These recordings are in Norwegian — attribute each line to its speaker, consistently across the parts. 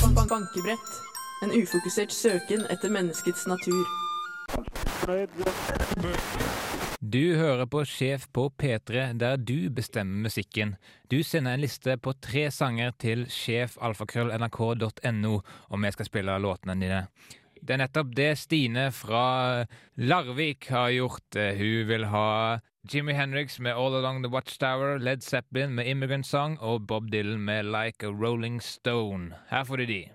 Speaker 1: tankebrett. En ufokusert søken etter menneskets natur.
Speaker 2: Du hører på Sjef på P3, der du bestemmer musikken. Du sender en liste på tre sanger til sjefalfakrøllnrk.no, og vi skal spille låtene dine. Det er nettopp det Stine fra Larvik har gjort. Hun vil ha Jimmy Henriks med All Along The Watchtower, Led Zeppelin med Immigrant Song og Bob Dylan med Like a Rolling Stone. Her får du de.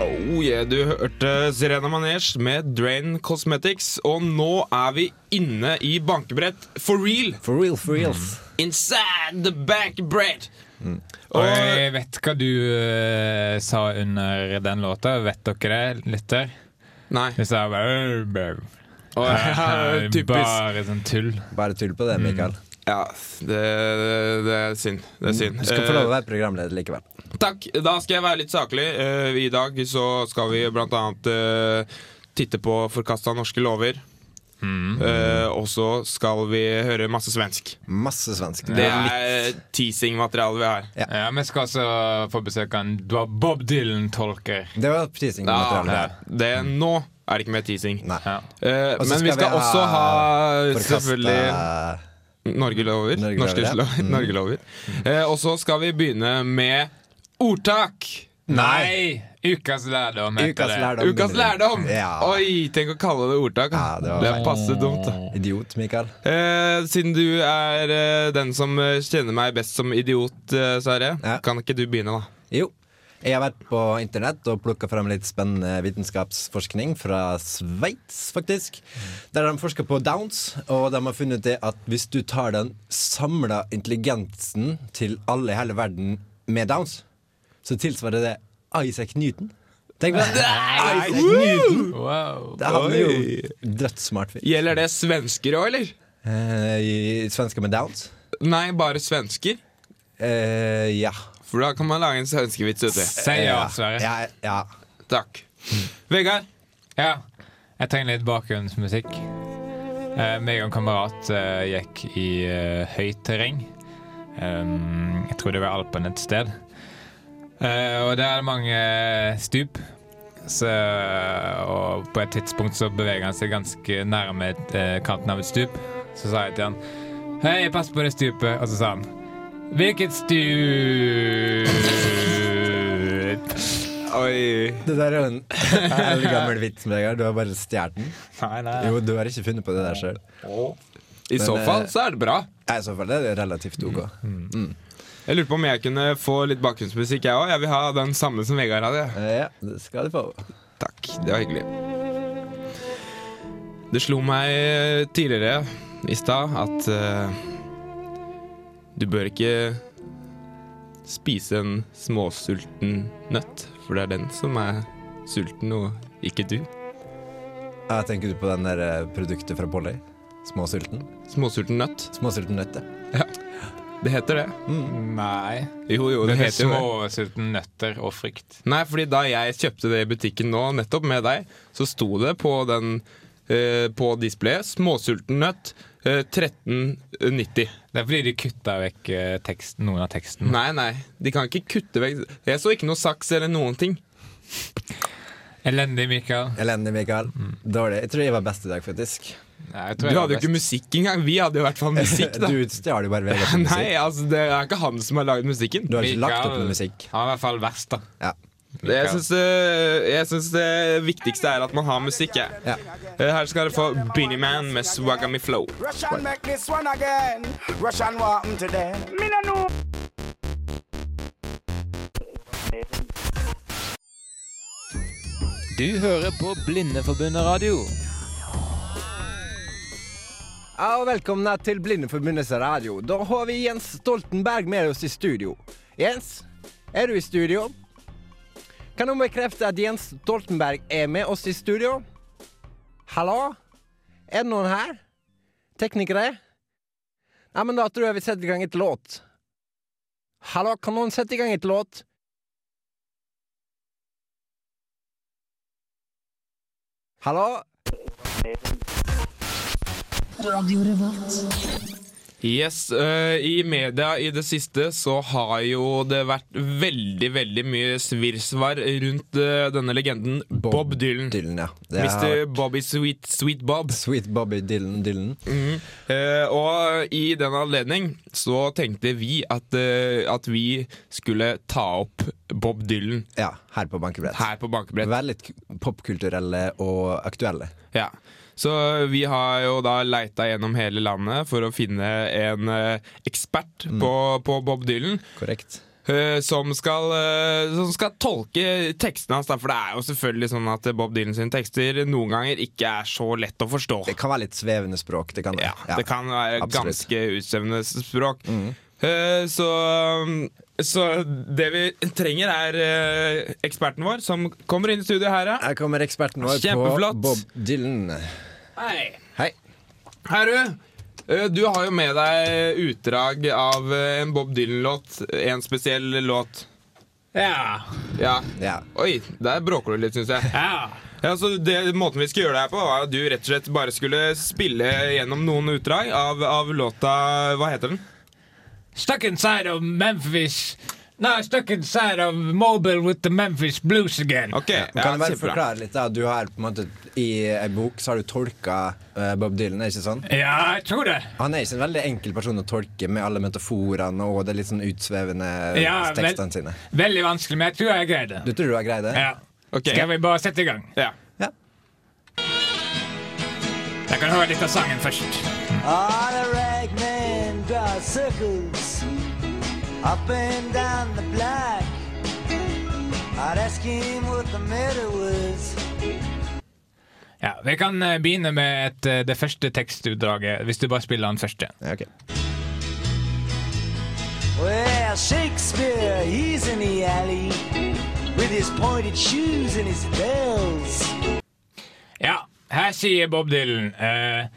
Speaker 3: Oh yeah, du hørte Serena Manesh med Drain Cosmetics, og nå er vi inne i bankebrett for real! Mm.
Speaker 4: For real, for reals.
Speaker 3: Inside the bankbrett!
Speaker 2: Og
Speaker 3: Og
Speaker 2: jeg vet hva du eh, sa under den låta. Vet dere det, lytter?
Speaker 3: Nei.
Speaker 2: Du sa bare, øh, bare
Speaker 3: Og, ja, typisk.
Speaker 2: Bare sånn tull.
Speaker 4: Bare tull på det,
Speaker 3: Mm.
Speaker 4: Mikael.
Speaker 3: Ja, det, det er synd. Det er synd.
Speaker 4: Du skal få lov å være programleder likevel.
Speaker 3: Eh, takk. Da skal jeg være litt saklig. Eh, I dag så skal vi blant annet eh, titte på forkasta norske lover.
Speaker 4: Mm.
Speaker 3: Eh, og så skal vi høre masse svensk.
Speaker 4: Masse svensk.
Speaker 3: Det er teasing-materialet vi har.
Speaker 2: Ja, Vi skal også få besøk av en Bob Bob Dylan-tolker.
Speaker 4: Det var teasing.
Speaker 3: Ja,
Speaker 4: materiale der.
Speaker 3: det, nå er det ikke mer teasing.
Speaker 4: Nei.
Speaker 2: Ja.
Speaker 3: Eh,
Speaker 4: Og så
Speaker 3: men vi skal også ha
Speaker 4: forkastet-
Speaker 3: selvfølgelig Norge-lover.
Speaker 4: Norge-lover,
Speaker 3: Norske
Speaker 4: ja. Mm.
Speaker 3: slo- Norge-lover. Eh, og så skal vi begynne med ordtak.
Speaker 2: Nei! Ukas lærdom heter
Speaker 4: Ukas
Speaker 2: det.
Speaker 4: lærdom.
Speaker 3: Ukas lærdom!
Speaker 4: Ja.
Speaker 3: Oi, tenk å kalle det ordtak.
Speaker 4: Ja, det
Speaker 3: det,
Speaker 4: var
Speaker 3: er
Speaker 4: feil.
Speaker 3: passe dumt. da.
Speaker 4: Idiot, Mikael.
Speaker 3: Eh, siden du er eh, den som eh, kjenner meg best som idiot, eh, Sverre,
Speaker 4: Ja.
Speaker 3: kan ikke du begynne, da?
Speaker 4: Jo. Jeg har vært på internett og plukka frem litt spennende vitenskapsforskning fra Sveits, faktisk. Der de forsker på downs, og de har funnet det at hvis du tar den samla intelligensen til alle i hele verden med downs, så tilsvarer det Isaac Newton. Tenk på det! Isaac Newton!
Speaker 2: Wow.
Speaker 4: Det Han er jo
Speaker 3: Oi.
Speaker 4: dødssmart fyr.
Speaker 3: Gjelder det svensker òg, eller?
Speaker 4: Eh, i- Svensker med downs?
Speaker 3: Nei, bare svensker.
Speaker 4: Eh, ja. Eh,
Speaker 3: For da kan man lage en svenskevits ute.
Speaker 2: Si ja, Sverre.
Speaker 4: ja. Ja.
Speaker 3: Takk.
Speaker 4: Mm.
Speaker 3: Vegard.
Speaker 2: Ja. Jeg trenger litt bakgrunnsmusikk. Eh, meg og en kamerat eh, gikk i eh, høyt terreng. Um, jeg tror det var Alpen et sted. Eh, og der er det mange eh, stup. Så, og på et tidspunkt så beveger han seg ganske nærme et, eh, kanten av et stup. Så sa jeg til han Hei, pass på det stupet. Og så sa han Hvilket stup?
Speaker 3: Oi.
Speaker 4: Det der er jo en eldgammel gammel vits, Vegard. Du har bare stjålet den.
Speaker 2: Nei, nei.
Speaker 4: Jo, du har ikke funnet på det der sjøl.
Speaker 3: I så
Speaker 4: eh,
Speaker 3: fall så er det bra.
Speaker 4: I så fall er det relativt OK.
Speaker 3: Jeg lurte på om jeg kunne få litt bakgrunnsmusikk, jeg òg. Jeg vil ha den samme som Vegard hadde.
Speaker 4: Eh, Ja, det skal du få.
Speaker 3: Takk. Det var hyggelig. Det slo meg tidligere i stad at eh, du bør ikke spise en småsulten nøtt, for det er den som er sulten, og ikke du.
Speaker 4: Jeg tenker du på den der eh, produktet fra Polly? Småsulten?
Speaker 3: Småsulten nøtt.
Speaker 4: Småsulten nøtte.
Speaker 3: Det heter det.
Speaker 2: Nei.
Speaker 3: Jo, jo,
Speaker 2: Det
Speaker 3: det
Speaker 2: er
Speaker 3: heter jo det.
Speaker 2: småsulten nøtter og frykt.
Speaker 3: Nei, fordi da jeg kjøpte det i butikken nå, nettopp med deg, så sto det på den eh, på displayet 'Småsulten nøtt'. eh, 1390.
Speaker 2: Det er fordi de kutta vekk eh, tekst, noen av teksten.
Speaker 3: Nei, nei, de kan ikke kutte vekk Jeg så ikke noe saks eller noen ting.
Speaker 2: Elendig, Mikael.
Speaker 4: Elendig, Mikael. Dårlig. Jeg tror jeg var best i dag, faktisk.
Speaker 2: Nei, jeg
Speaker 3: Du
Speaker 2: tror jeg
Speaker 3: hadde jo
Speaker 2: var
Speaker 3: ikke
Speaker 2: best.
Speaker 3: musikk engang. Vi hadde jo i hvert fall musikk, da.
Speaker 4: Du stjal jo bare Vegard sin
Speaker 3: Nei,
Speaker 4: musikk.
Speaker 3: altså, det er ikke han som har lagd musikken.
Speaker 4: Du har ikke lagt opp
Speaker 2: Mikael-
Speaker 4: noe musikk.
Speaker 2: Han er i hvert fall verst, da.
Speaker 4: Ja.
Speaker 3: Jeg syns, eh, jeg syns det viktigste er at man har musikk, jeg.
Speaker 4: Ja.
Speaker 3: Eh, Her skal dere få Beanie Man med Swagami Flow.
Speaker 5: Russian make this one again. Russian want 'em today.
Speaker 2: Du hører på Blindeforbundet radio.
Speaker 4: Ja, og velkomne til Blindeforbundets radio. Da har vi Jens Stoltenberg med oss i studio. Jens, er du i studio? Kan du bekrefte at Jens Stoltenberg er med oss i studio? Hallo? Er det noen her? Teknikere?
Speaker 6: Ja, men da tror jag vi sätter igång ett låt. Hallå, kan någon sätta igång ett låt? Hallå?
Speaker 3: Yes, eh, I media i det siste så har jo det vært veldig veldig mye svirsvar rundt eh, denne legenden Bob, Dylan.
Speaker 4: Dylan, ja. Det
Speaker 3: Mr.
Speaker 4: har-
Speaker 3: Bobby Sweet, Sweet Bob.
Speaker 4: Sweet Bobby Dylan. Dylan.
Speaker 3: Eh, og i den anledning så tenkte vi at, eh, at vi skulle ta opp Bob Dylan
Speaker 4: Ja, her på bankebrett.
Speaker 3: her på bankebrett.
Speaker 4: Veldig k- popkulturelle og aktuelle.
Speaker 3: Ja. Så vi har jo da leita gjennom hele landet for å finne en eh, ekspert på, på Bob Dylan.
Speaker 4: Korrekt.
Speaker 3: eh, som, skal, eh, som skal tolke tekstene hans. Da, for det er jo selvfølgelig sånn at Bob Dylan sine tekster noen ganger ikke er så lett å forstå.
Speaker 4: Det kan være litt svevende språk. Det kan det.
Speaker 3: Ja, det kan være
Speaker 4: absolutt. Mm.
Speaker 3: ganske utsvevende språk. Eh, Så, så det vi trenger, er eh, eksperten vår som kommer inn i studio her. Ja.
Speaker 4: Her kommer eksperten vår på
Speaker 3: Kjempeflott.
Speaker 4: Bob Dylan.
Speaker 3: Hei.
Speaker 4: Hei.
Speaker 3: Hei, du. Eh, Du har jo med deg utdrag av eh, en Bob Dylan-låt. En spesiell låt.
Speaker 2: Ja.
Speaker 3: Ja.
Speaker 4: Ja.
Speaker 3: Oi, der bråker du litt, syns jeg.
Speaker 2: ja.
Speaker 3: Ja, så det, Måten vi skulle gjøre det her på, var at du rett og slett bare skulle spille gjennom noen utdrag av, av låta Hva heter den?
Speaker 2: Stuck inside of Memphis. No, stuck inside of Mobile with the Memphis Blues again.
Speaker 3: Ok, ja,
Speaker 4: Men kan du bare
Speaker 3: kjempebra.
Speaker 4: forklare litt da Du har på en måte I ei bok så har du tolka eh, Bob Dylan, er det ikke sånn?
Speaker 2: Ja, jeg tror det.
Speaker 4: Han er ikke en veldig enkel person å tolke med alle metaforene og de litt sånn utsvevende
Speaker 2: Ja, vel-
Speaker 4: tekstene sine.
Speaker 2: Veldig vanskelig, men jeg tror jeg greide det.
Speaker 4: Du tror du har greid det?
Speaker 2: Ja.
Speaker 3: Ok.
Speaker 2: Skal vi bare sette i gang?
Speaker 3: Ja.
Speaker 4: Ja.
Speaker 2: Jeg kan høre litt av sangen først.
Speaker 7: On a ragman draws circles up and down the block. I'd ask him what the matter was.
Speaker 2: Ja, Vi kan eh, begynne med et, eh, det første tekstutdraget, hvis du bare spiller den første.
Speaker 4: Ja, ok.
Speaker 7: Well, Shakespeare, he's in the alley with his pointed shoes and his bells.
Speaker 2: Ja, her sier Bob Dylan eh,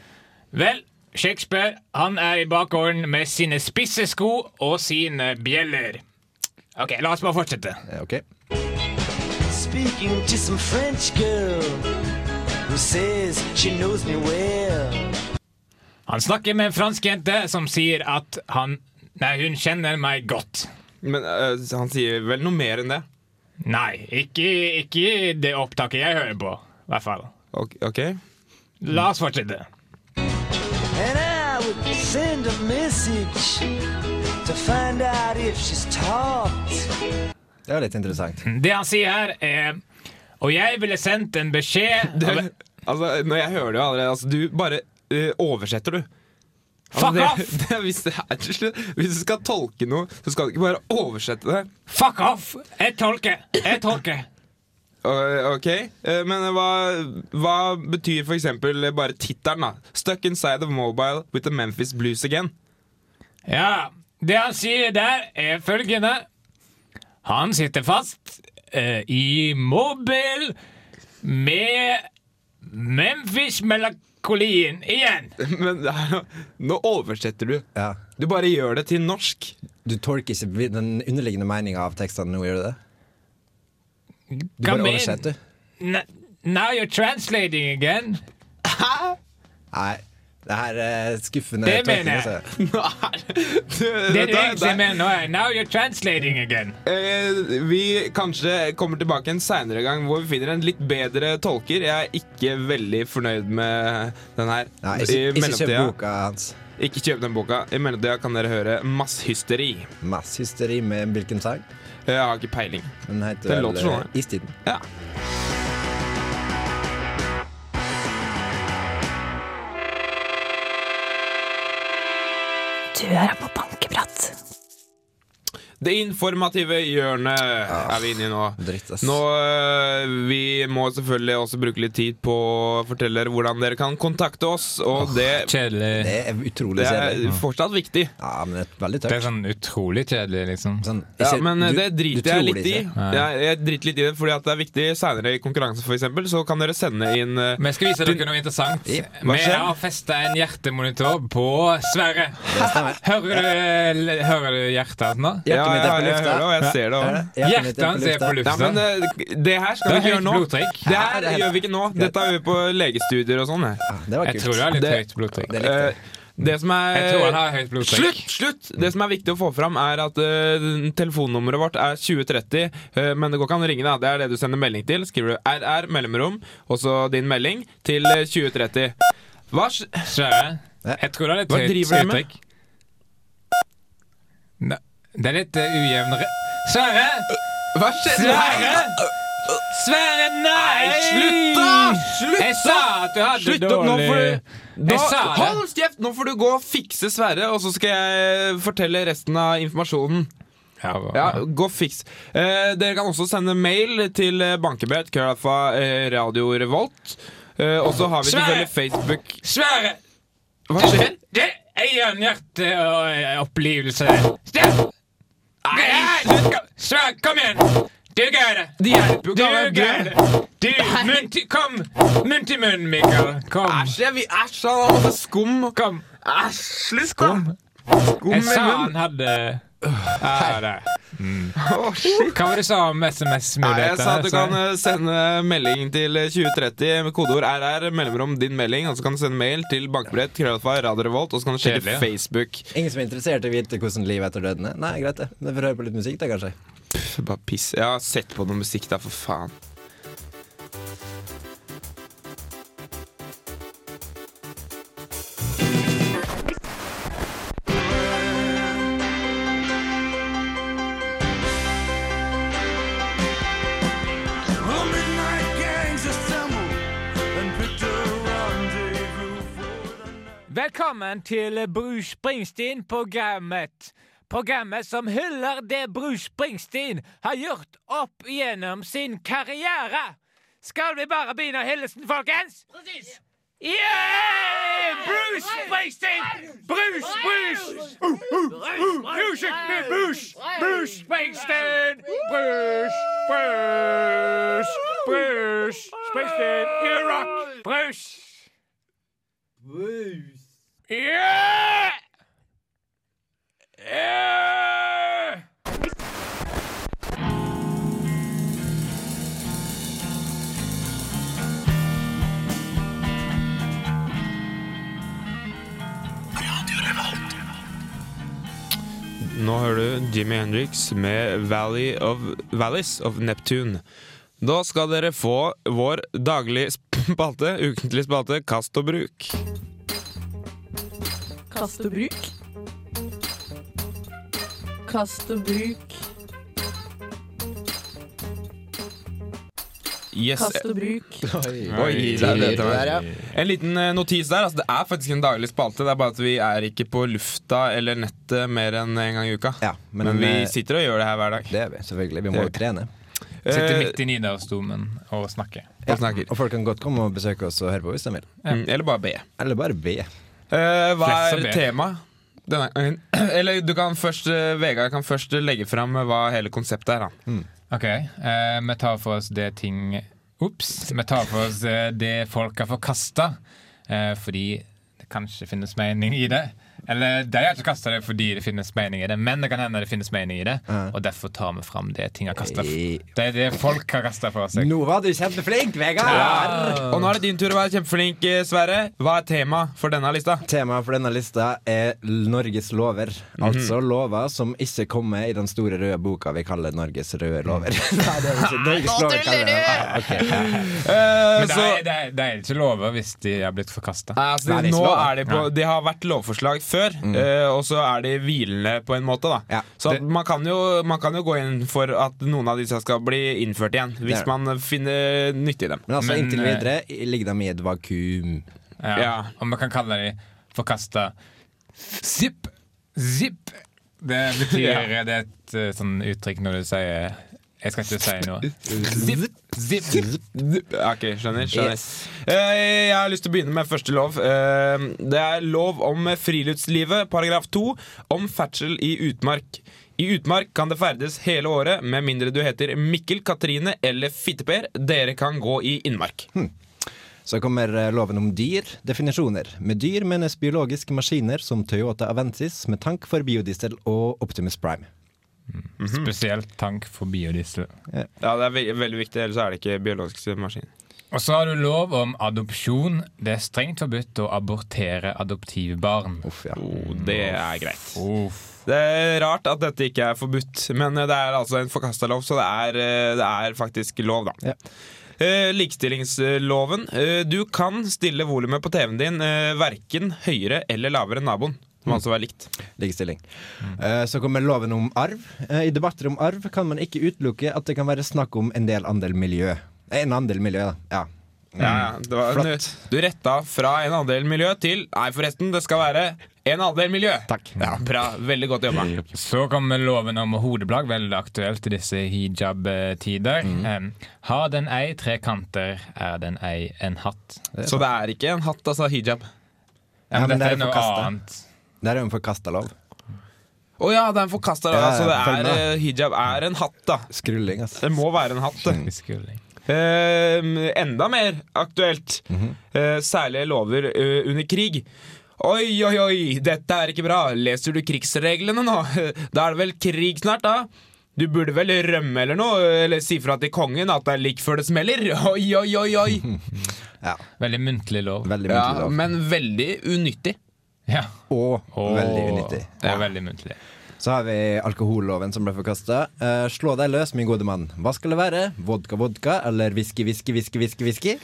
Speaker 2: Vel, Shakespeare, han er i bakgården med sine spisse sko og sine bjeller. Ok, la oss bare fortsette.
Speaker 4: Ja, ok.
Speaker 7: Speaking to some French girl who says she knows me well.
Speaker 2: Han snakker med en fransk jente som sier at han Nei, hun kjenner meg godt.
Speaker 3: Men eh, han sier vel noe mer enn det?
Speaker 2: Nei, ikke, ikke i det opptaket jeg hører på. I hvert fall.
Speaker 3: Ok, ok.
Speaker 2: La oss fortsette.
Speaker 7: And I would send a message to find out if she's talked.
Speaker 4: Det var litt interessant.
Speaker 2: Det han sier her, er Og jeg ville sendt en beskjed
Speaker 3: Det, altså, når jeg hører det jo allerede altså, Du bare eh, oversetter, du. Altså,
Speaker 2: Fuck
Speaker 3: det,
Speaker 2: off!
Speaker 3: Det, hvis, det er, til slutt- hvis du skal tolke noe, så skal du ikke bare oversette det.
Speaker 2: Fuck off! Jeg tolker! Jeg tolker!
Speaker 3: Og- Ok, eh, Men hva, hva betyr f.eks. bare tittelen? da? 'Stuck inside of mobile with the Memphis Blues again'.
Speaker 2: Ja, det han sier der, er følgende Han sitter fast eh, i mobil med Memphis-melankolien igjen.
Speaker 3: Men det er, jo- nå oversetter du.
Speaker 4: Ja.
Speaker 3: Du bare gjør det til norsk.
Speaker 4: Du tolker ikke vid- den underliggende meninga av tekstene nå, gjør du det? Du
Speaker 2: Hva
Speaker 4: bare
Speaker 2: men-
Speaker 4: oversetter?
Speaker 2: N- Now you're translating again.
Speaker 4: Nei. Det her er skuffende.
Speaker 2: Det
Speaker 4: tolking,
Speaker 2: mener jeg.
Speaker 4: altså.
Speaker 3: Nei, du,
Speaker 2: Det du
Speaker 3: dette-
Speaker 2: egentlig mener nå, er Now you're translating again.
Speaker 3: Eh, vi kanskje kommer tilbake en seinere gang hvor vi finner en litt bedre tolker. Jeg er ikke veldig fornøyd med den her.
Speaker 4: Nei, ikke, ikke kjøp
Speaker 3: mellomtida-
Speaker 4: boka hans.
Speaker 3: Ikke kjøp den boka. I mellomtida kan dere høre masshysteri.
Speaker 4: Masshysteri med hvilken sang?
Speaker 3: Jeg har ikke peiling.
Speaker 4: Den heter
Speaker 3: Den
Speaker 4: vel,
Speaker 3: låter sånn,
Speaker 4: eh, Istiden.
Speaker 3: Ja.
Speaker 8: Du hører på Bankeprat.
Speaker 3: Det informative hjørnet er vi inne i nå.
Speaker 4: Ah, Dritt, ass.
Speaker 3: Nå, øh, Vi må selvfølgelig også bruke litt tid på å fortelle dere hvordan dere kan kontakte oss. Og det,
Speaker 2: Kjedelig.
Speaker 4: Det er utrolig
Speaker 3: det er
Speaker 4: kjedelig.
Speaker 3: fortsatt viktig.
Speaker 4: Ja, men det er veldig
Speaker 2: Det er
Speaker 4: tørt.
Speaker 2: sånn utrolig kjedelig, liksom.
Speaker 4: Sånn,
Speaker 3: Ja,
Speaker 4: ikke-
Speaker 3: men øh,
Speaker 4: du-
Speaker 3: det
Speaker 4: du
Speaker 3: driter jeg
Speaker 4: tror det
Speaker 3: litt i.
Speaker 4: ikke.
Speaker 3: Jeg, jeg driter litt i det Fordi at det er viktig seinere i konkurransen, for eksempel, så kan dere sende inn øh,
Speaker 2: Vi skal vise dere noe interessant.
Speaker 4: Ja,
Speaker 3: hva
Speaker 2: Vi
Speaker 3: skjer?
Speaker 2: har festa en hjertemonitor på Sverre.
Speaker 4: Det stemmer.
Speaker 2: Hører du, hører du hjertet hans nå?
Speaker 3: Ja,
Speaker 4: Hjertet mitt er på
Speaker 3: jeg, jeg hører det,
Speaker 4: lufta.
Speaker 3: og jeg ser det
Speaker 4: Er
Speaker 3: også.
Speaker 4: det?
Speaker 2: Hjertet hans er på
Speaker 4: lufta.
Speaker 3: Ja,
Speaker 2: lufta.
Speaker 3: men øh, det her skal
Speaker 2: Det
Speaker 3: vi
Speaker 2: er
Speaker 3: ikke
Speaker 2: høyt
Speaker 3: gjøre nå.
Speaker 2: blodtrykk.
Speaker 3: Det
Speaker 4: Ja,
Speaker 3: her
Speaker 4: det er
Speaker 3: gjør
Speaker 4: helt-
Speaker 3: vi ikke nå. Dette gjør vi på legestudier og sånn. jeg.
Speaker 4: Ja, det var
Speaker 2: Jeg tror
Speaker 4: kult.
Speaker 2: du har litt
Speaker 3: Det-
Speaker 2: høyt blodtrykk.
Speaker 4: Det likte
Speaker 3: Eh,
Speaker 4: jeg.
Speaker 3: Det som er
Speaker 2: Jeg tror han har høyt
Speaker 3: Slutt!
Speaker 2: blodtrykk.
Speaker 3: slutt! Det som er viktig å få fram, er at eh, telefonnummeret vårt er 2030. eh, men det går ikke an å ringe, da. Det er det du sender melding til. Skriver du RR, mellomrom, og så din melding, til eh, 2030. Hva s-
Speaker 2: Sverre,
Speaker 4: Ja.
Speaker 2: jeg tror det er litt
Speaker 3: Hva
Speaker 2: høyt
Speaker 3: driver du med?
Speaker 2: blodtrykk. Ne- Det er litt eh, ujevnere Sverre!
Speaker 3: Hva skjedde?
Speaker 2: Sverre! Sverre, nei!
Speaker 3: Nei, slutt da! Slutt
Speaker 2: Jeg sa at du hadde
Speaker 3: Slutt opp nå,
Speaker 2: dårlig
Speaker 3: for da,
Speaker 2: Jeg sa det.
Speaker 3: Hold kjeft! Nå får du gå og fikse Sverre, og så skal jeg fortelle resten av informasjonen.
Speaker 2: Ja, bra.
Speaker 3: Ja, gå fiks. Eh, dere kan også sende mail til eh, bankebet, krøllalfa, eh, Radio Revolt. Eh, og så har vi
Speaker 2: Sverre!
Speaker 3: selvfølgelig Facebook
Speaker 2: Sverre!
Speaker 3: Hva skjer?
Speaker 2: Det er en eh, hjerteopplivelse. Steff! Sverre, kom igjen! Du greier det.
Speaker 3: De hjelper jo
Speaker 2: Du
Speaker 3: ikke alle.
Speaker 2: greier det. Du, munn til Kom! Munn til munn, Mikael. Kom.
Speaker 3: Æsj, jeg vil- æsj, han har masse skum.
Speaker 2: Kom.
Speaker 3: Æsj, slutt, da! Skum i
Speaker 2: Jeg sa
Speaker 3: munnen.
Speaker 2: han hadde Ja, det.
Speaker 3: Å, shit.
Speaker 2: Mm. Hva var det du sa om
Speaker 3: Nei, jeg sa at
Speaker 2: SMS-muligheter?
Speaker 3: du kan eh, sende melding til eh, 2030 med kodeord RR, mellomrom din melding, og så kan du sende mail til bankebillett, krøllalfa, Radio Revolt, og så kan du sjekke
Speaker 2: Kjedelig, ja.
Speaker 3: Facebook.
Speaker 4: Ingen som er interessert i å vite hvordan livet etter døden er? Nei, greit det. Vi får høre på litt musikk, da, kanskje.
Speaker 3: Pff, Bare piss. Jeg har sett på noe musikk der, for faen.
Speaker 2: Velkommen til Bruce Springsteen-programmet. Programmet som hyller det Bruce Springsteen har gjort opp gjennom sin karriere. Skal vi bare begynne hilsen, folkens? Presis. Yeah! Bruce Springsteen! Bruce, Bruce! Uh, uh, uh, Music med Bruce! Bruce Springsteen! Bruce, Bruce, Bruce Springsteen i rock! Bruce! Yeah! Yeah!
Speaker 3: Nå hører du Jimmy Hendrix med Valley of, Valleys of Neptune. Da skal dere få vår daglige spalte, ukentlig spalte, Kast og bruk.
Speaker 1: Kast og bruk. Kast og bruk.
Speaker 3: Yes.
Speaker 1: Kast og bruk.
Speaker 3: Oi, der, der, der, ja. En liten eh, notis der. Altså, det er faktisk en daglig spalte. Det er bare at vi er ikke på lufta eller nettet mer enn en gang i uka.
Speaker 4: Ja, men,
Speaker 3: men, vi
Speaker 4: eh,
Speaker 3: sitter og gjør det her hver dag.
Speaker 4: Det er vi, selvfølgelig. Vi må jo trene.
Speaker 2: Sitter
Speaker 3: Eh,
Speaker 2: midt i Nidarosdomen og snakker.
Speaker 3: og snakker.
Speaker 4: Og folk kan godt komme og besøke oss og høre på hvis de vil.
Speaker 3: Mm, eller bare be.
Speaker 4: Eller bare be.
Speaker 3: Eh, hva
Speaker 2: Flest som
Speaker 3: er
Speaker 2: ber.
Speaker 3: temaet? Denne gangen. Eller du kan først, eh, Vegard kan først legge fram eh, hva hele konseptet er. Han.
Speaker 2: Ok, eh, vi tar for oss det ting Ops! Vi tar for oss eh, det folk har forkasta, eh, fordi det kanskje finnes mening i det. Eller de har ikke kasta det fordi det finnes mening i det, men det kan hende det finnes mening i det. Og derfor tar vi fram det ting har kasta.
Speaker 4: Hey.
Speaker 2: Det er det folk har kasta fra seg.
Speaker 4: Nå var du kjempeflink, Vegard!
Speaker 2: Mm.
Speaker 3: Og nå er det din tur å være kjempeflink, eh, Sverre. Hva er temaet for denne lista?
Speaker 4: Temaet for denne lista er Norges lover.
Speaker 3: Mhm.
Speaker 4: Altså lover som ikke kommer i den store røde boka vi kaller Norges røde lover.
Speaker 3: Mm.
Speaker 4: Nei, det er ikke Norges lover kaller vi den. Ah, ok.
Speaker 2: Men
Speaker 3: Eh,
Speaker 2: det
Speaker 3: så-
Speaker 2: er, det, er, det er ikke lover hvis de har blitt forkasta.
Speaker 3: Nei, altså,
Speaker 4: Nei, det er
Speaker 3: nå
Speaker 4: ikke lov, da. Mm.
Speaker 3: er de på Det har vært lovforslag før, eh, og så er de hvilende på en måte, da.
Speaker 4: Ja.
Speaker 3: så at man, kan jo, man kan jo gå inn for at noen av disse skal bli innført igjen,
Speaker 4: Det
Speaker 3: hvis
Speaker 4: er-
Speaker 3: man finner nytte i dem.
Speaker 4: Men altså,
Speaker 2: Men,
Speaker 4: inntil
Speaker 2: eh,
Speaker 4: videre ligger de i et vakuum.
Speaker 2: Ja.
Speaker 3: Ja.
Speaker 2: Om man kan kalle de forkasta zip, zip, Det betyr Det er et eh, sånn uttrykk når du sier Jeg skal ikke si noe.
Speaker 3: Zipp, zipp, zipp. Ok, skjønner. skjønner.
Speaker 6: Yes.
Speaker 3: Eh, jeg har lyst til å begynne med første lov. Eh, det er lov om friluftslivet, paragraf 2, om ferdsel i utmark. I utmark kan det ferdes hele året, med mindre du heter Mikkel, Katrine eller Fitteper. Dere kan gå i innmark.
Speaker 4: Så kommer eh, loven om dyr. Definisjoner. Med dyr menes biologiske maskiner som Toyota Avensis med tank for biodiesel og Optimus Prime. mhm.
Speaker 2: Spesielt tank for biodiesel.
Speaker 3: Ja, Det er ve veldig viktig, ellers er det ikke biologiske maskiner.
Speaker 2: Og så har du lov om adopsjon. Det er strengt forbudt å abortere adoptivbarn.
Speaker 4: Uff, ja.
Speaker 3: Oh, det er greit.
Speaker 2: Uff.
Speaker 3: Det er rart at dette ikke er forbudt, men det er altså en forkasta lov, så det er, eh, det er faktisk lov, da.
Speaker 4: Ja.
Speaker 3: Eh, likestillingsloven. Eh, du kan stille volumet på TV-en din eh, verken høyere eller lavere enn naboen. Det
Speaker 4: Mm.
Speaker 3: må altså være likt.
Speaker 4: Likestilling. Eh, Så kommer loven om arv. Eh, I debatter om arv kan man ikke utelukke at det kan være snakk om en del andel miljø. Eh, En andel miljø, da. Ja.
Speaker 3: Ja, ja, det var, du,
Speaker 4: Mm. Flott.
Speaker 3: du retta fra en andel miljø til Nei, forresten, det skal være en andel miljø!
Speaker 4: Takk.
Speaker 3: Ja, Bra. Veldig godt jobba.
Speaker 2: Så kommer loven om hodeplagg, veldig aktuelt i disse hijab-tider.
Speaker 4: Mhm.
Speaker 2: Em, har den ei tre kanter, er den ei en hatt.
Speaker 3: Så det er ikke en hatt, altså hijab.
Speaker 4: Ja, men
Speaker 2: dette
Speaker 4: det er
Speaker 2: er noe
Speaker 4: forkastet.
Speaker 2: annet.
Speaker 4: Det er jo en forkasta lov.
Speaker 3: Å ja, det er en forkasta lov.
Speaker 4: Ja, ja,
Speaker 3: altså, det
Speaker 4: følg
Speaker 3: er,
Speaker 4: med.
Speaker 3: eh, hijab er en hatt, da.
Speaker 4: Skrulling, altså.
Speaker 3: Det må være en hatt. det.
Speaker 4: Mm.
Speaker 2: Fiskehuling.
Speaker 3: Eh, enda mer aktuelt. eh, særlige lover eh, under krig. Oi, oi, oi, dette er ikke bra. Leser du krigsreglene nå? Da er det vel krig snart, da? Du burde vel rømme eller noe, eller si fra til kongen at det er lik før det smeller. Oi, oi, oi, oi.
Speaker 4: Ja,
Speaker 2: Veldig muntlig lov.
Speaker 4: veldig muntlig
Speaker 3: Ja,
Speaker 4: lov.
Speaker 3: men veldig unyttig.
Speaker 2: Ja.
Speaker 4: Og
Speaker 2: Og-
Speaker 4: veldig unyttig.
Speaker 2: Og veldig muntlig.
Speaker 4: Så har vi alkoholloven som ble forkasta. Eh, slå deg løs, min gode mann. Hva skal det være? Vodka, vodka eller whisky, whisky, whisky, whisky? whisky?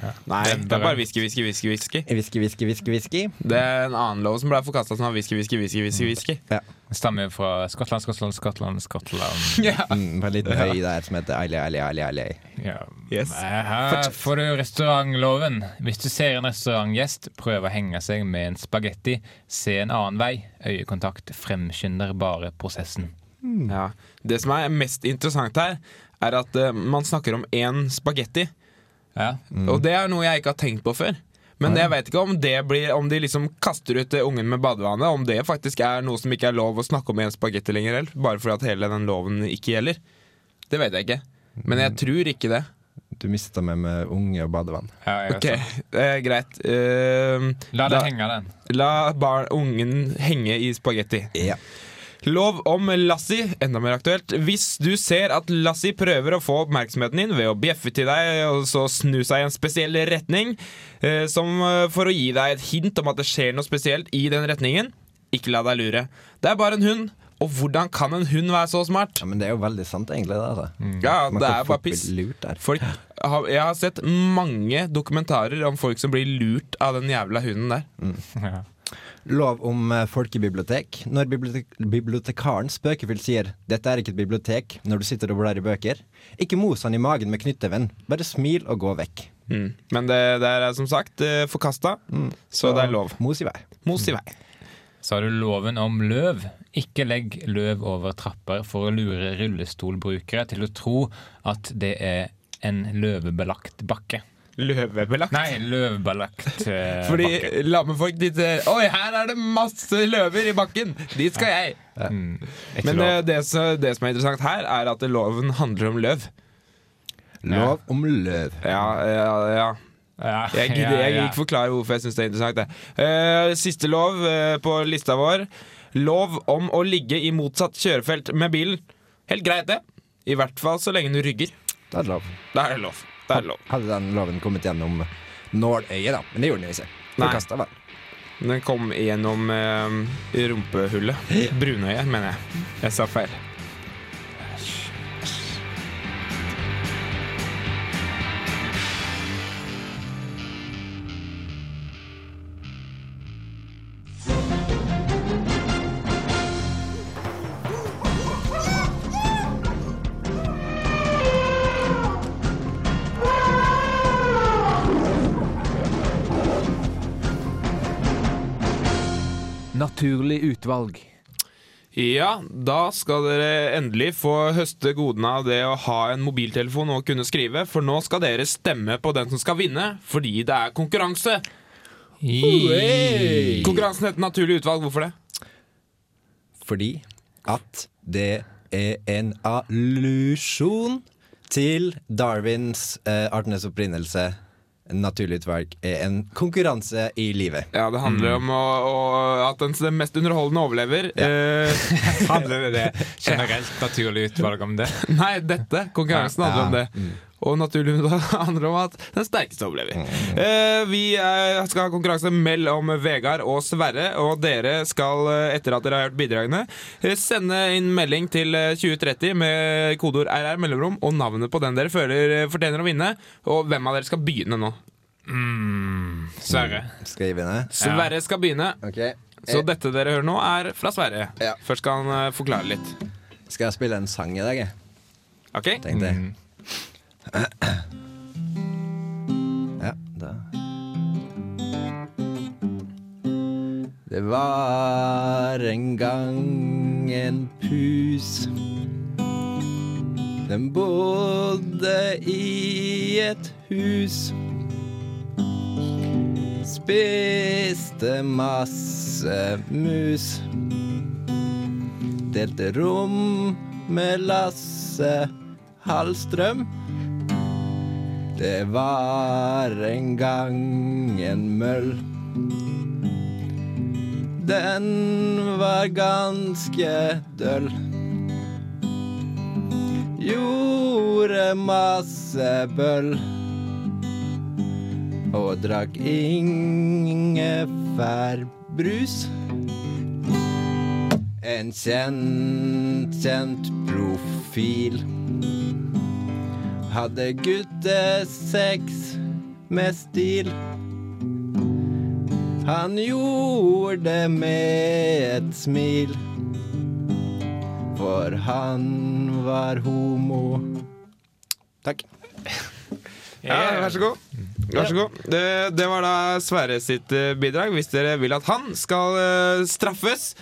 Speaker 4: Eh,
Speaker 3: Nei, det er
Speaker 2: Venter
Speaker 3: bare
Speaker 2: den.
Speaker 3: whisky, whisky, whisky. whisky
Speaker 4: Whisky, whisky, whisky, whisky.
Speaker 3: Det er en annen lov som ble forkasta som var whisky, whisky, whisky. whisky, whisky.
Speaker 4: Ja.
Speaker 2: Det Stammer jo fra Skottland, Skottland, Skottland, Skottland.
Speaker 3: Ja.
Speaker 4: Mm, på en liten øy der som heter Eili, Eili, Eili, Eili.
Speaker 2: Ja.
Speaker 3: Yes.
Speaker 2: Her får du restaurantloven. Hvis du ser en restaurantgjest prøve å henge seg med en spagetti, se en annen vei. Øyekontakt fremskynder bare prosessen.
Speaker 3: Ja. Det som er mest interessant her, er at eh, man snakker om én spagetti.
Speaker 2: Ja.
Speaker 3: Og det er noe jeg ikke har tenkt på før. Men jeg vet ikke om det blir Om de liksom kaster ut eh, ungen med badevannet. Om det faktisk er noe som ikke er lov å snakke om i en spagetti lenger. eller? Bare fordi at hele den loven ikke gjelder. Det vet jeg ikke. Men jeg tror ikke det.
Speaker 4: Du mista meg med unge og badevann.
Speaker 2: Ja, jeg
Speaker 3: Ok,
Speaker 2: vet det.
Speaker 3: eh, Greit. Eh,
Speaker 2: La
Speaker 3: da-
Speaker 2: det henge, den.
Speaker 3: la barn, ungen henge i spagetti.
Speaker 4: Ja.
Speaker 3: Lov om Lassi, enda mer aktuelt. Hvis du ser at Lassi prøver å få oppmerksomheten din ved å bjeffe til deg og så snu seg i en spesiell retning, eh, som eh, for å gi deg et hint om at det skjer noe spesielt i den retningen, ikke la deg lure. Det er bare en hund, og hvordan kan en hund være så smart?
Speaker 4: ja, men det er jo veldig sant, egentlig. Det, altså.
Speaker 3: Ja,
Speaker 4: Man
Speaker 3: det
Speaker 4: kan
Speaker 3: er
Speaker 4: fort
Speaker 3: bare piss.
Speaker 4: bli Lurt der.
Speaker 3: Folk, har- jeg har sett mange dokumentarer om folk som blir lurt av den jævla hunden der.
Speaker 2: Ja.
Speaker 4: Lov om eh, folkebibliotek. Når bibliotek bibliotekaren spøkefullt sier 'dette er ikke et bibliotek' når du sitter og blar i bøker, ikke mos han i magen med knyttneven. Bare smil og gå vekk.
Speaker 3: Mm. Men det, det er som sagt eh, forkasta, så det er lov.
Speaker 4: Mos i vei.
Speaker 3: Mos i vei.
Speaker 2: Så har du loven om løv. Ikke legg løv over trapper for å lure rullestolbrukere til å tro at det er en løvebelagt bakke.
Speaker 3: Løvebelagt.
Speaker 2: Nei, løvbelagt eh, bakke.
Speaker 3: Fordi lammefolk de ser Oi, her er det masse løver i bakken! Dit skal jeg!
Speaker 2: Mm, ikke
Speaker 3: Men
Speaker 2: lov.
Speaker 3: eh, det, som- det som er interessant her, er at loven handler om løv.
Speaker 4: Lov om løv.
Speaker 3: Ja, ja, ja.
Speaker 2: ja,
Speaker 3: Jeg gidder
Speaker 2: ja,
Speaker 3: jeg
Speaker 2: ja.
Speaker 3: gidder ikke forklare hvorfor jeg syns det er interessant. Det. Eh, siste lov eh, på lista vår. Lov om å ligge i motsatt kjørefelt med bilen. Helt greit, det. I hvert fall så lenge du rygger.
Speaker 4: Det er lov.
Speaker 3: Da er det lov. Da er det lov.
Speaker 4: Hadde den loven kommet gjennom nåløyet, da. Men det gjorde den jo ikke.
Speaker 3: Nei.
Speaker 4: Forkasta, vel.
Speaker 3: Den kom gjennom eh, rumpehullet. Brunøyet, mener jeg. Jeg sa feil.
Speaker 6: Naturlig utvalg.
Speaker 3: Ja, da skal dere endelig få høste godene av det å ha en mobiltelefon og kunne skrive, for nå skal dere stemme på den som skal vinne, fordi det er konkurranse.
Speaker 2: I-
Speaker 3: Konkurransen heter Naturlig utvalg. Hvorfor det?
Speaker 4: Fordi at det er en allusjon til Darwins eh, artenes opprinnelse. Naturlig utvalg er en konkurranse i livet.
Speaker 3: Ja, det handler om å, å, at den den mest underholdende overlever. Eh,
Speaker 2: Handler det det generelt naturlig utvalg om det?
Speaker 3: nei, dette. Konkurransen handler om
Speaker 4: mm.
Speaker 3: det. Og naturlig nok handler det om at den sterkeste overlever.
Speaker 4: Mm.
Speaker 3: Eh, vi eh, skal ha konkurranse mellom Vegard og Sverre, og dere skal, eh, etter at dere har hørt bidragene, eh, sende inn melding til eh, 2030 med kodeord RR mellomrom og navnet på den dere føler eh, fortjener å vinne, og hvem av dere skal begynne nå. Mm.
Speaker 2: Sverre.
Speaker 4: Skal jeg begynne?
Speaker 3: Sverre skal begynne.
Speaker 4: Ok.
Speaker 3: Så dette dere hører nå, er fra Sverre.
Speaker 4: Eh. Ja.
Speaker 3: Først skal han eh, forklare litt.
Speaker 4: Skal jeg spille en sang i dag, jeg?
Speaker 3: Ok?
Speaker 4: Tenkte jeg. Ja, da Det var en gang en pus. Den bodde i et hus. Spiste masse mus delte rom med Lasse Hallstrøm. Det var en gang en møll. Den var ganske døll. Gjorde masse bøll. Og drakk ingefærbrus. En kjent, kjent profil Hadde guttesex med stil Han gjorde det med et smil For han var homo Takk
Speaker 3: Ja, vær så god. Vær så god. Det, det var da Sverre sitt eh, bidrag. Hvis dere vil at han skal eh, straffes,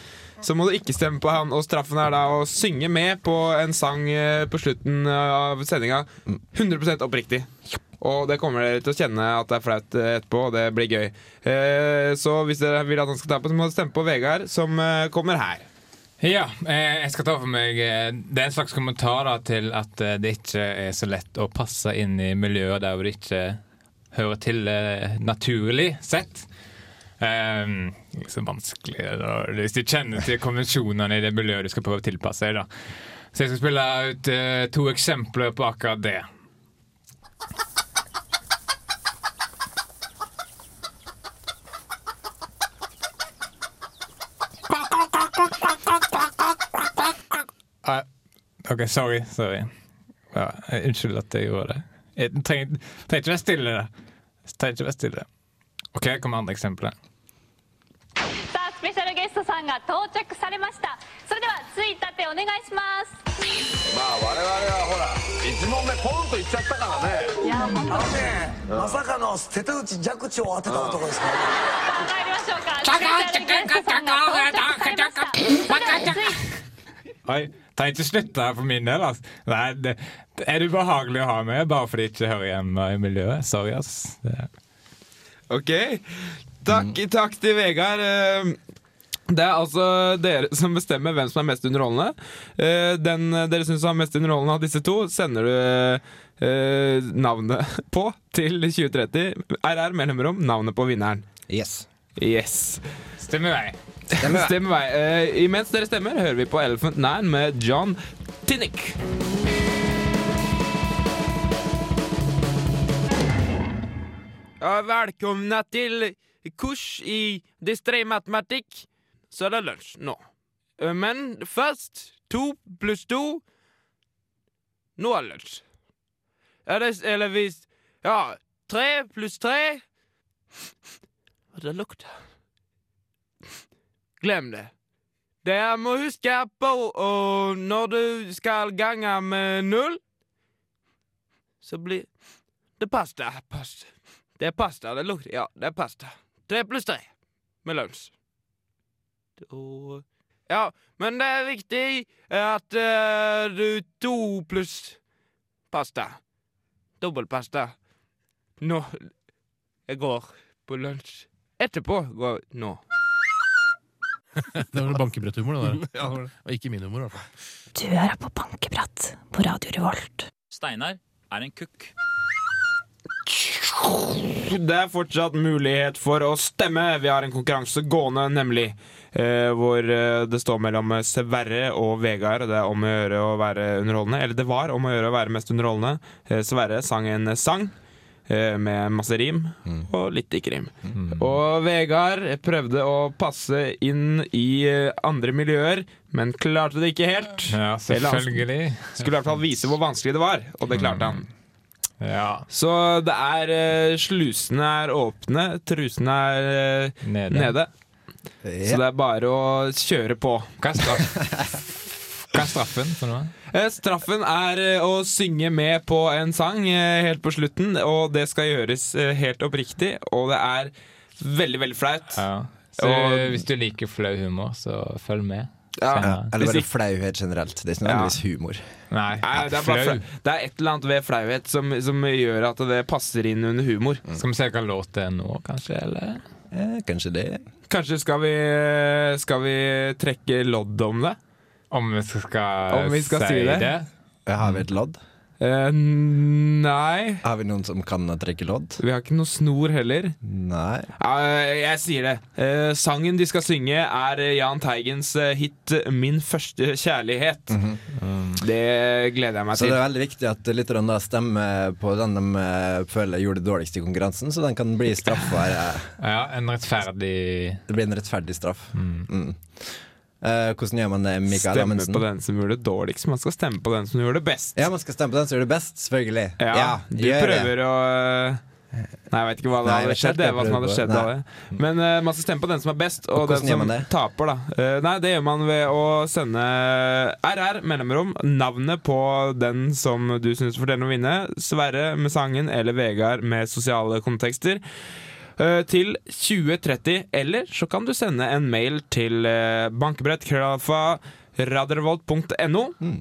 Speaker 3: så må du ikke stemme på han. Og straffen er da å synge med på en sang eh, på slutten av sendinga. 100 oppriktig. Og det kommer dere til å kjenne at det er flaut eh, etterpå, og det blir gøy. Eh, Så hvis dere vil at han skal ta på, så må dere stemme på Vegard, som eh, kommer her.
Speaker 2: Ja, eh, jeg skal ta for meg eh, Det er en slags kommentar da, til at eh, det ikke er så lett å passe inn i miljøer der hvor det ikke hører til eh, naturlig sett. Um, så vanskelig da, hvis du kjenner til konvensjonene i det miljøet du skal prøve å tilpasse deg. da. Så jeg skal spille ut eh, to eksempler på akkurat det. Nei, Eh, OK, sorry. sorry. Ja, eh, unnskyld at jeg gjorde det. Jeg trenger trenger ikke være stille. Jeg Trenger ikke være stille. OK, her kommer andre eksempler.
Speaker 8: さあスペシャルゲストさんが到着されましたそれではついたてお願いします
Speaker 9: まあ我々はほら1問目ポンといっちゃったからね
Speaker 8: いや本当に
Speaker 7: まさかの捨てた内弱長を当てた男ですからね
Speaker 8: 参りましょうかスペシャルゲストさんが到着されましたそれではつい
Speaker 2: Oi, trenger ikke slutte her for min del. ass. Nei, det, det er det ubehagelig å ha med bare fordi jeg ikke hører hjemme i miljøet. Sorry, ass. Det-
Speaker 3: Ok. Takk,
Speaker 2: Mm.
Speaker 3: takk til Vegard. Eh, Det er altså dere som bestemmer hvem som er mest underholdende. Eh, Den dere syns er mest underholdende av disse to, sender du eh, navnet på til 2030. RR mellomrom, navnet på vinneren.
Speaker 4: Yes
Speaker 3: Yes.
Speaker 2: Stemmer vei.
Speaker 3: Stemmer vei. Eh, Imens dere stemmer, hører vi på Elephant Nine med John Tinnick. Ja, velkomna til kurs i distriktsmatematikk. Så er det lunsj nå. Eh, Men først to pluss to. Nå er det lunsj. Er det Eller hvis Ja, tre pluss tre Og det lukter Glem det. Dere må huske på å- når du skal gange med null, så blir det pasta. pasta. Det er pasta. Det lukter Ja, det er pasta. Tre pluss tre med lunsj. Og Ja, men det er viktig at eh, du to pluss pasta. Dobbeltpasta. Nå Jeg går på lunsj. Etterpå går nå.
Speaker 10: Det var bankebretthumor, det der. Og ikke min humor, i hvert fall.
Speaker 8: Du hører på Bankeprat på Radio Revolt.
Speaker 11: Steinar er en kukk.
Speaker 3: Det er fortsatt mulighet for å stemme. Vi har en konkurranse gående, nemlig. eh, hvor eh, det står mellom eh, Sverre og Vegard. Det er om å gjøre å være underholdende. Eller det var om å gjøre å være mest underholdende. Eh, Sverre sang en sang eh, med masse rim, og litt ikke-rim. Og Vegard prøvde å passe inn i eh, andre miljøer, men klarte det ikke helt.
Speaker 2: Ja,
Speaker 3: Eller han
Speaker 2: selvfølgelig.
Speaker 3: Skulle i hvert fall vise hvor vanskelig det var, og det klarte han.
Speaker 2: Ja.
Speaker 3: Så det er eh, Slusene er åpne, trusene er eh,
Speaker 2: Nede.
Speaker 3: nede. Så
Speaker 4: Ja.
Speaker 3: det er bare å kjøre på.
Speaker 2: Hva er straffen? Hva er straffen for noe?
Speaker 3: Eh, Straffen er eh, å synge med på en sang eh, helt på slutten, og det skal gjøres eh, helt oppriktig, og det er veldig, veldig flaut.
Speaker 2: Ja. Så
Speaker 3: Og-
Speaker 2: hvis du liker flau humor, så følg med.
Speaker 3: Ja.
Speaker 2: Senere.
Speaker 4: Eller
Speaker 3: Hvis
Speaker 4: bare
Speaker 3: ikke-
Speaker 4: flauhet generelt. Det er ikke
Speaker 3: Ja.
Speaker 4: nødvendigvis humor.
Speaker 2: Nei,
Speaker 3: Nei, det, er bare
Speaker 2: flau.
Speaker 3: flau. det er et eller annet ved flauhet som, som gjør at det passer inn under humor.
Speaker 4: Mm.
Speaker 2: Skal vi se hva låt det er nå, kanskje? Eller?
Speaker 4: Eh, kanskje det.
Speaker 3: Kanskje skal vi, eh, skal vi trekke lodd om det?
Speaker 2: Om vi skal,
Speaker 3: Om vi skal si det?
Speaker 4: Har vi et lodd?
Speaker 3: Eh, nei.
Speaker 4: Har vi noen som kan trekke lodd?
Speaker 3: Vi har ikke noe snor heller.
Speaker 4: Nei.
Speaker 3: jeg sier det. Eh, sangen de skal synge, er eh, Jahn Teigens eh, hit eh, 'Min første kjærlighet'. Det gleder jeg meg
Speaker 4: Mhm. Så
Speaker 3: til.
Speaker 4: det er veldig viktig at lytterne da stemmer på den de eh, føler gjorde det dårligst i konkurransen, så den kan bli straffa. eh,
Speaker 2: Ja, en rettferdig
Speaker 4: Det blir en rettferdig straff. Mm. Eh, hvordan gjør man det, Mikael
Speaker 3: stemme
Speaker 4: Amundsen?
Speaker 3: på den som gjorde det dårligst. Man skal stemme på den som gjorde det best.
Speaker 4: Ja, man skal stemme på den som gjør det best, selvfølgelig.
Speaker 3: Ja, du
Speaker 4: gjør
Speaker 3: prøver
Speaker 4: det.
Speaker 3: å eh, Nei, jeg vet ikke hva det
Speaker 4: Nei, jeg
Speaker 3: hadde
Speaker 4: vet
Speaker 3: skjedd.
Speaker 4: ikke
Speaker 3: Det, hva som
Speaker 4: hva
Speaker 3: hadde
Speaker 4: jeg
Speaker 3: skjedd
Speaker 4: prøver på.
Speaker 3: av det. Men eh, man skal stemme på den som er best, og,
Speaker 4: Og hvordan
Speaker 3: den
Speaker 4: gjør
Speaker 3: som
Speaker 4: man det?
Speaker 3: taper, da. Eh, nei, det gjør man ved å sende RR, mellomrom, navnet på den som du syns fortjener å vinne, Sverre med sangen eller Vegard med sosiale kontekster, eh, til 2030. Eller så kan du sende en mail til uh, bankebrett.radiorevolt.no.
Speaker 4: Mm.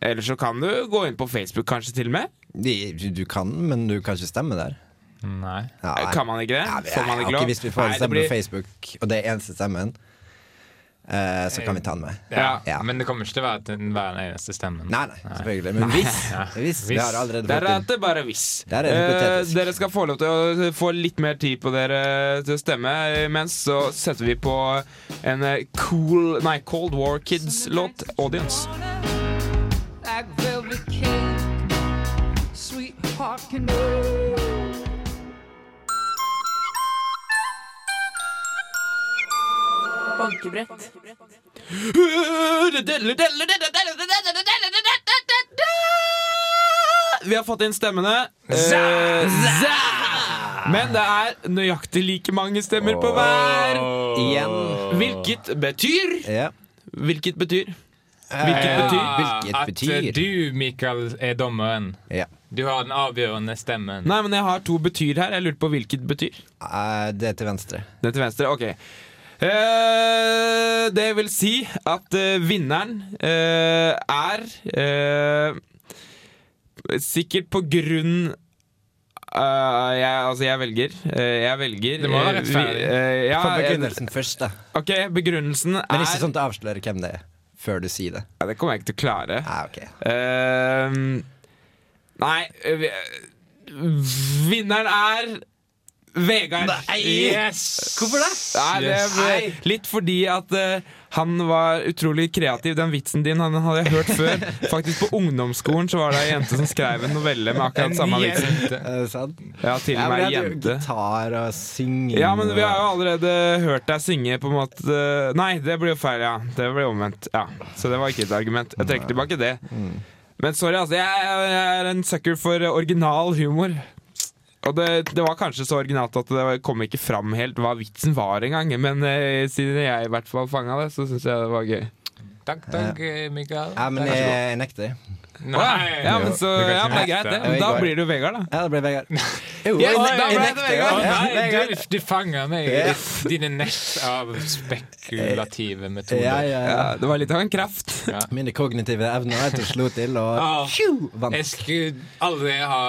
Speaker 3: Eller så kan du gå inn på Facebook, kanskje til og med.
Speaker 4: De- Du kan, men du kan ikke stemme der.
Speaker 2: Nei.
Speaker 4: Ja,
Speaker 3: Eh, Kan man ikke det?
Speaker 4: Ja, vi-
Speaker 3: Får man ikke
Speaker 4: ok,
Speaker 3: lov?
Speaker 4: Hvis vi får
Speaker 3: Nei,
Speaker 4: en
Speaker 3: det
Speaker 4: stemme
Speaker 3: blir-
Speaker 4: på Facebook, og det er eneste stemmen, eh, så kan vi ta den med.
Speaker 2: Ja,
Speaker 4: Ja.
Speaker 2: Men det kommer ikke til å være til hver eneste stemmen.
Speaker 4: Nei, nei, selvfølgelig. Men hvis, hvis Vi
Speaker 2: Hvis.
Speaker 4: har allerede
Speaker 3: Der er
Speaker 4: fått
Speaker 3: det bare hvis.
Speaker 4: Der er det hypotetisk.
Speaker 3: Eh, dere skal få lov til å få litt mer tid på dere til å stemme. Mens så setter vi på en eh, cool Nei, Cold War Kids-låt, 'Audience'.
Speaker 7: Like velvet cake, sweetheart can move.
Speaker 1: Bankebrett.
Speaker 3: Vi har fått inn stemmene. Eh, zæ! Men det er nøyaktig like mange stemmer på hver.
Speaker 4: igjen.
Speaker 3: Hvilket betyr
Speaker 4: Ja.
Speaker 3: Hvilket betyr
Speaker 4: Eh,
Speaker 3: betyr-
Speaker 4: hvilket
Speaker 2: at
Speaker 4: betyr?
Speaker 2: eh, du, Mikael, er dommeren.
Speaker 4: Ja.
Speaker 2: Du har den avgjørende stemmen.
Speaker 3: Nei, men jeg har to betyr her. Jeg lurte på hvilket betyr.
Speaker 4: Eh, det er til venstre.
Speaker 3: Den til venstre, ok Eh, Det vil si at eh, vinneren eh, er eh, Sikkert på grunn eh, jeg, altså jeg velger Eh, Jeg velger
Speaker 2: Det må være
Speaker 3: eh, vi-
Speaker 2: rettferdig.
Speaker 3: eh, ja,
Speaker 4: Få begrunnelsen først, da.
Speaker 3: eh, Ok, begrunnelsen er
Speaker 4: Men ikke sånn at du avslører hvem det er, før du sier det.
Speaker 3: ja, Det kommer jeg ikke til å klare
Speaker 4: Ah, ok
Speaker 3: Eh, Nei eh, vi- eh, Vinneren er Vegard
Speaker 2: Yes!
Speaker 4: Hvorfor det?
Speaker 3: Nei, det
Speaker 2: Yes.
Speaker 3: ble litt fordi at eh, han var utrolig kreativ. Den vitsen din han hadde jeg hørt før. Faktisk På ungdomsskolen så var det ei jente som skrev en novelle med akkurat samme vitsen.
Speaker 4: Er det sant?
Speaker 3: Ja, til og med ei
Speaker 4: hadde jo
Speaker 3: jente.
Speaker 4: gitar og synging
Speaker 3: Ja, men vi har jo
Speaker 4: og-
Speaker 3: allerede hørt deg synge på en måte Nei, det blir jo feil, ja. Det blir omvendt. Ja, Så det var ikke et argument. Jeg trekker tilbake det. Men sorry, altså. Jeg, jeg er en sucker for original humor. Og det, det var kanskje så originalt at det kom ikke fram helt hva vitsen var engang. Men eh, siden jeg i hvert fall fanga det, så syns jeg det var gøy.
Speaker 2: Takk, takk, eh, Mikael.
Speaker 4: Ja, men eh,
Speaker 2: Takk.
Speaker 4: jeg, jeg nekter.
Speaker 2: Nei,
Speaker 3: ja, men så,
Speaker 2: du kan
Speaker 3: ja,
Speaker 2: ikke
Speaker 3: men det er
Speaker 2: nekte.
Speaker 3: greit, det. Da
Speaker 4: Vegard.
Speaker 3: blir det jo Vegard, da.
Speaker 4: Ja, det ble Vegard.
Speaker 2: Jo,
Speaker 3: Yes,
Speaker 2: å,
Speaker 3: da ble
Speaker 2: jeg
Speaker 3: det
Speaker 2: nekter,
Speaker 3: Vegard.
Speaker 2: å,
Speaker 3: Ja,
Speaker 2: nei,
Speaker 3: Vegard.
Speaker 2: du, du fanger meg
Speaker 3: Ja.
Speaker 2: i dine nett av spekulative metoder.
Speaker 4: Ja, ja, ja.
Speaker 3: Det var litt av en kraft.
Speaker 4: Mine kognitive evner vet du, slo til,
Speaker 2: Ah.
Speaker 4: og tju, vant.
Speaker 2: Jeg skulle aldri ha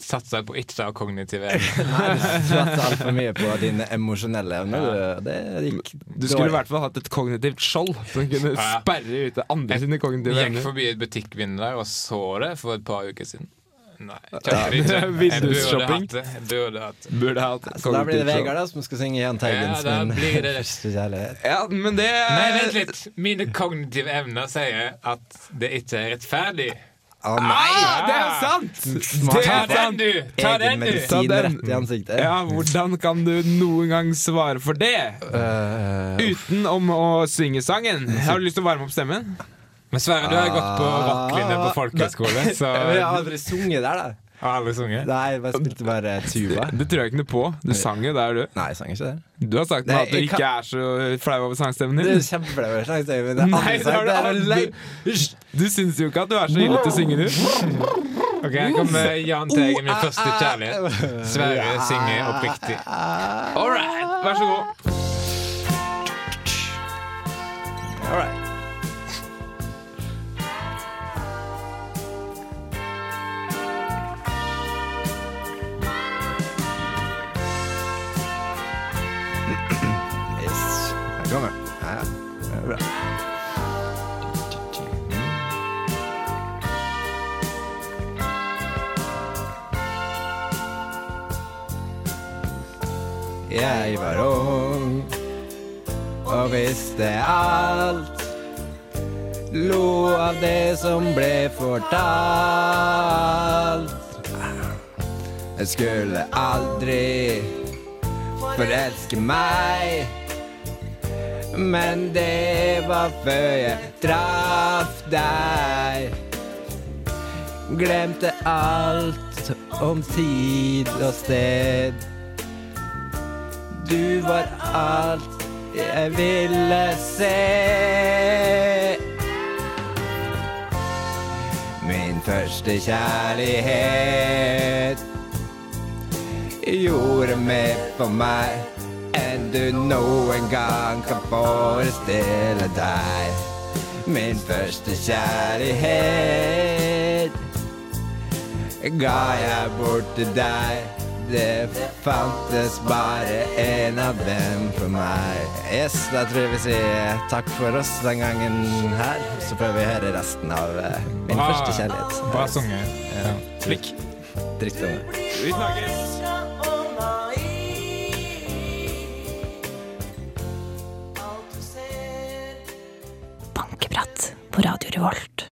Speaker 2: satsa på ikke av kognitive evner.
Speaker 4: Nei, Du satte altfor mye på dine emosjonelle evner. du. Det gikk
Speaker 3: Du skulle i hvert fall hatt et kognitivt skjold som kunne
Speaker 2: Ja.
Speaker 3: sperre ute andre sine kognitive
Speaker 2: Jeg gikk
Speaker 3: evner.
Speaker 2: forbi et butikkvindu der og så det for et par uker siden. Nei,
Speaker 3: Ja,
Speaker 2: kjøpte det ikke. Jeg burde
Speaker 3: vindusshopping.
Speaker 2: hatt det. Jeg Burde hatt det.
Speaker 3: Burde ha hatt
Speaker 4: Så da blir det
Speaker 3: kognitivt skjold.
Speaker 4: Vegard da som skal synge Jahn Teigens
Speaker 2: Ja, da
Speaker 4: min
Speaker 2: blir det det.
Speaker 4: første kjærlighet.
Speaker 3: Ja, men det
Speaker 2: Nei, vent litt. Mine kognitive evner sier at det ikke er rettferdig.
Speaker 4: Å nei!
Speaker 3: Ja, det er sant!
Speaker 4: Smart.
Speaker 3: Det
Speaker 2: Ta
Speaker 3: er
Speaker 2: den,
Speaker 3: sant!
Speaker 2: du! Ta
Speaker 4: Egen
Speaker 2: den, du!
Speaker 4: medisin
Speaker 3: Ta den.
Speaker 4: rett i ansiktet.
Speaker 3: Ja, hvordan kan du noen gang svare for det?
Speaker 4: Eh,
Speaker 3: Uten om å synge sangen. Har du lyst til å varme opp stemmen?
Speaker 2: Men Sverre, du har gått på rocklinje på
Speaker 4: Ah.
Speaker 2: folkehøyskole, så
Speaker 4: jeg har aldri sunget der, da.
Speaker 2: Har aldri sunget?
Speaker 4: Nei, jeg bare spilte bare tuba.
Speaker 3: Det tror jeg ikke noe på. Du sang jo der, du.
Speaker 4: Nei, jeg sang ikke det.
Speaker 3: Du har sagt
Speaker 4: Nei,
Speaker 3: meg at du
Speaker 4: jeg kan-
Speaker 3: ikke er så flau over sangstemmen
Speaker 4: Det
Speaker 3: din.
Speaker 4: er kjempeflaut. slags øye, men det er
Speaker 3: Nei,
Speaker 4: aldri
Speaker 3: det
Speaker 4: sagt.
Speaker 3: har du
Speaker 4: Det er
Speaker 3: aldri.
Speaker 4: løgn.
Speaker 3: Du syns jo ikke at du er så ille til å synge, du.
Speaker 2: Ok, Her kommer Jahn Teigen, min første kjærlighet. Sverre synger oppriktig.
Speaker 3: All right, vær så god.
Speaker 4: Yes. Her kommer den. Ja, ja. Det er bra. Jeg var ung og visste alt. Lo av det som ble fortalt. Jeg skulle aldri forelske meg. Men det var før jeg traff deg. Glemte alt om tid og sted. Du var alt jeg ville se. Min første kjærlighet gjorde mer for meg enn du noen gang kan forestille deg. Min første kjærlighet ga jeg bort til deg. Det fantes bare en av dem for meg. Yes, da tror jeg vi sier takk for oss den gangen her. Så prøver vi å høre resten av eh, min
Speaker 2: Bra-
Speaker 4: første kjærlighet.
Speaker 2: Bra sunget. Ja. Slik.
Speaker 4: Drittungen.
Speaker 3: Vi snakkes.
Speaker 7: Oh,
Speaker 12: Bankeprat på Radio Revolt.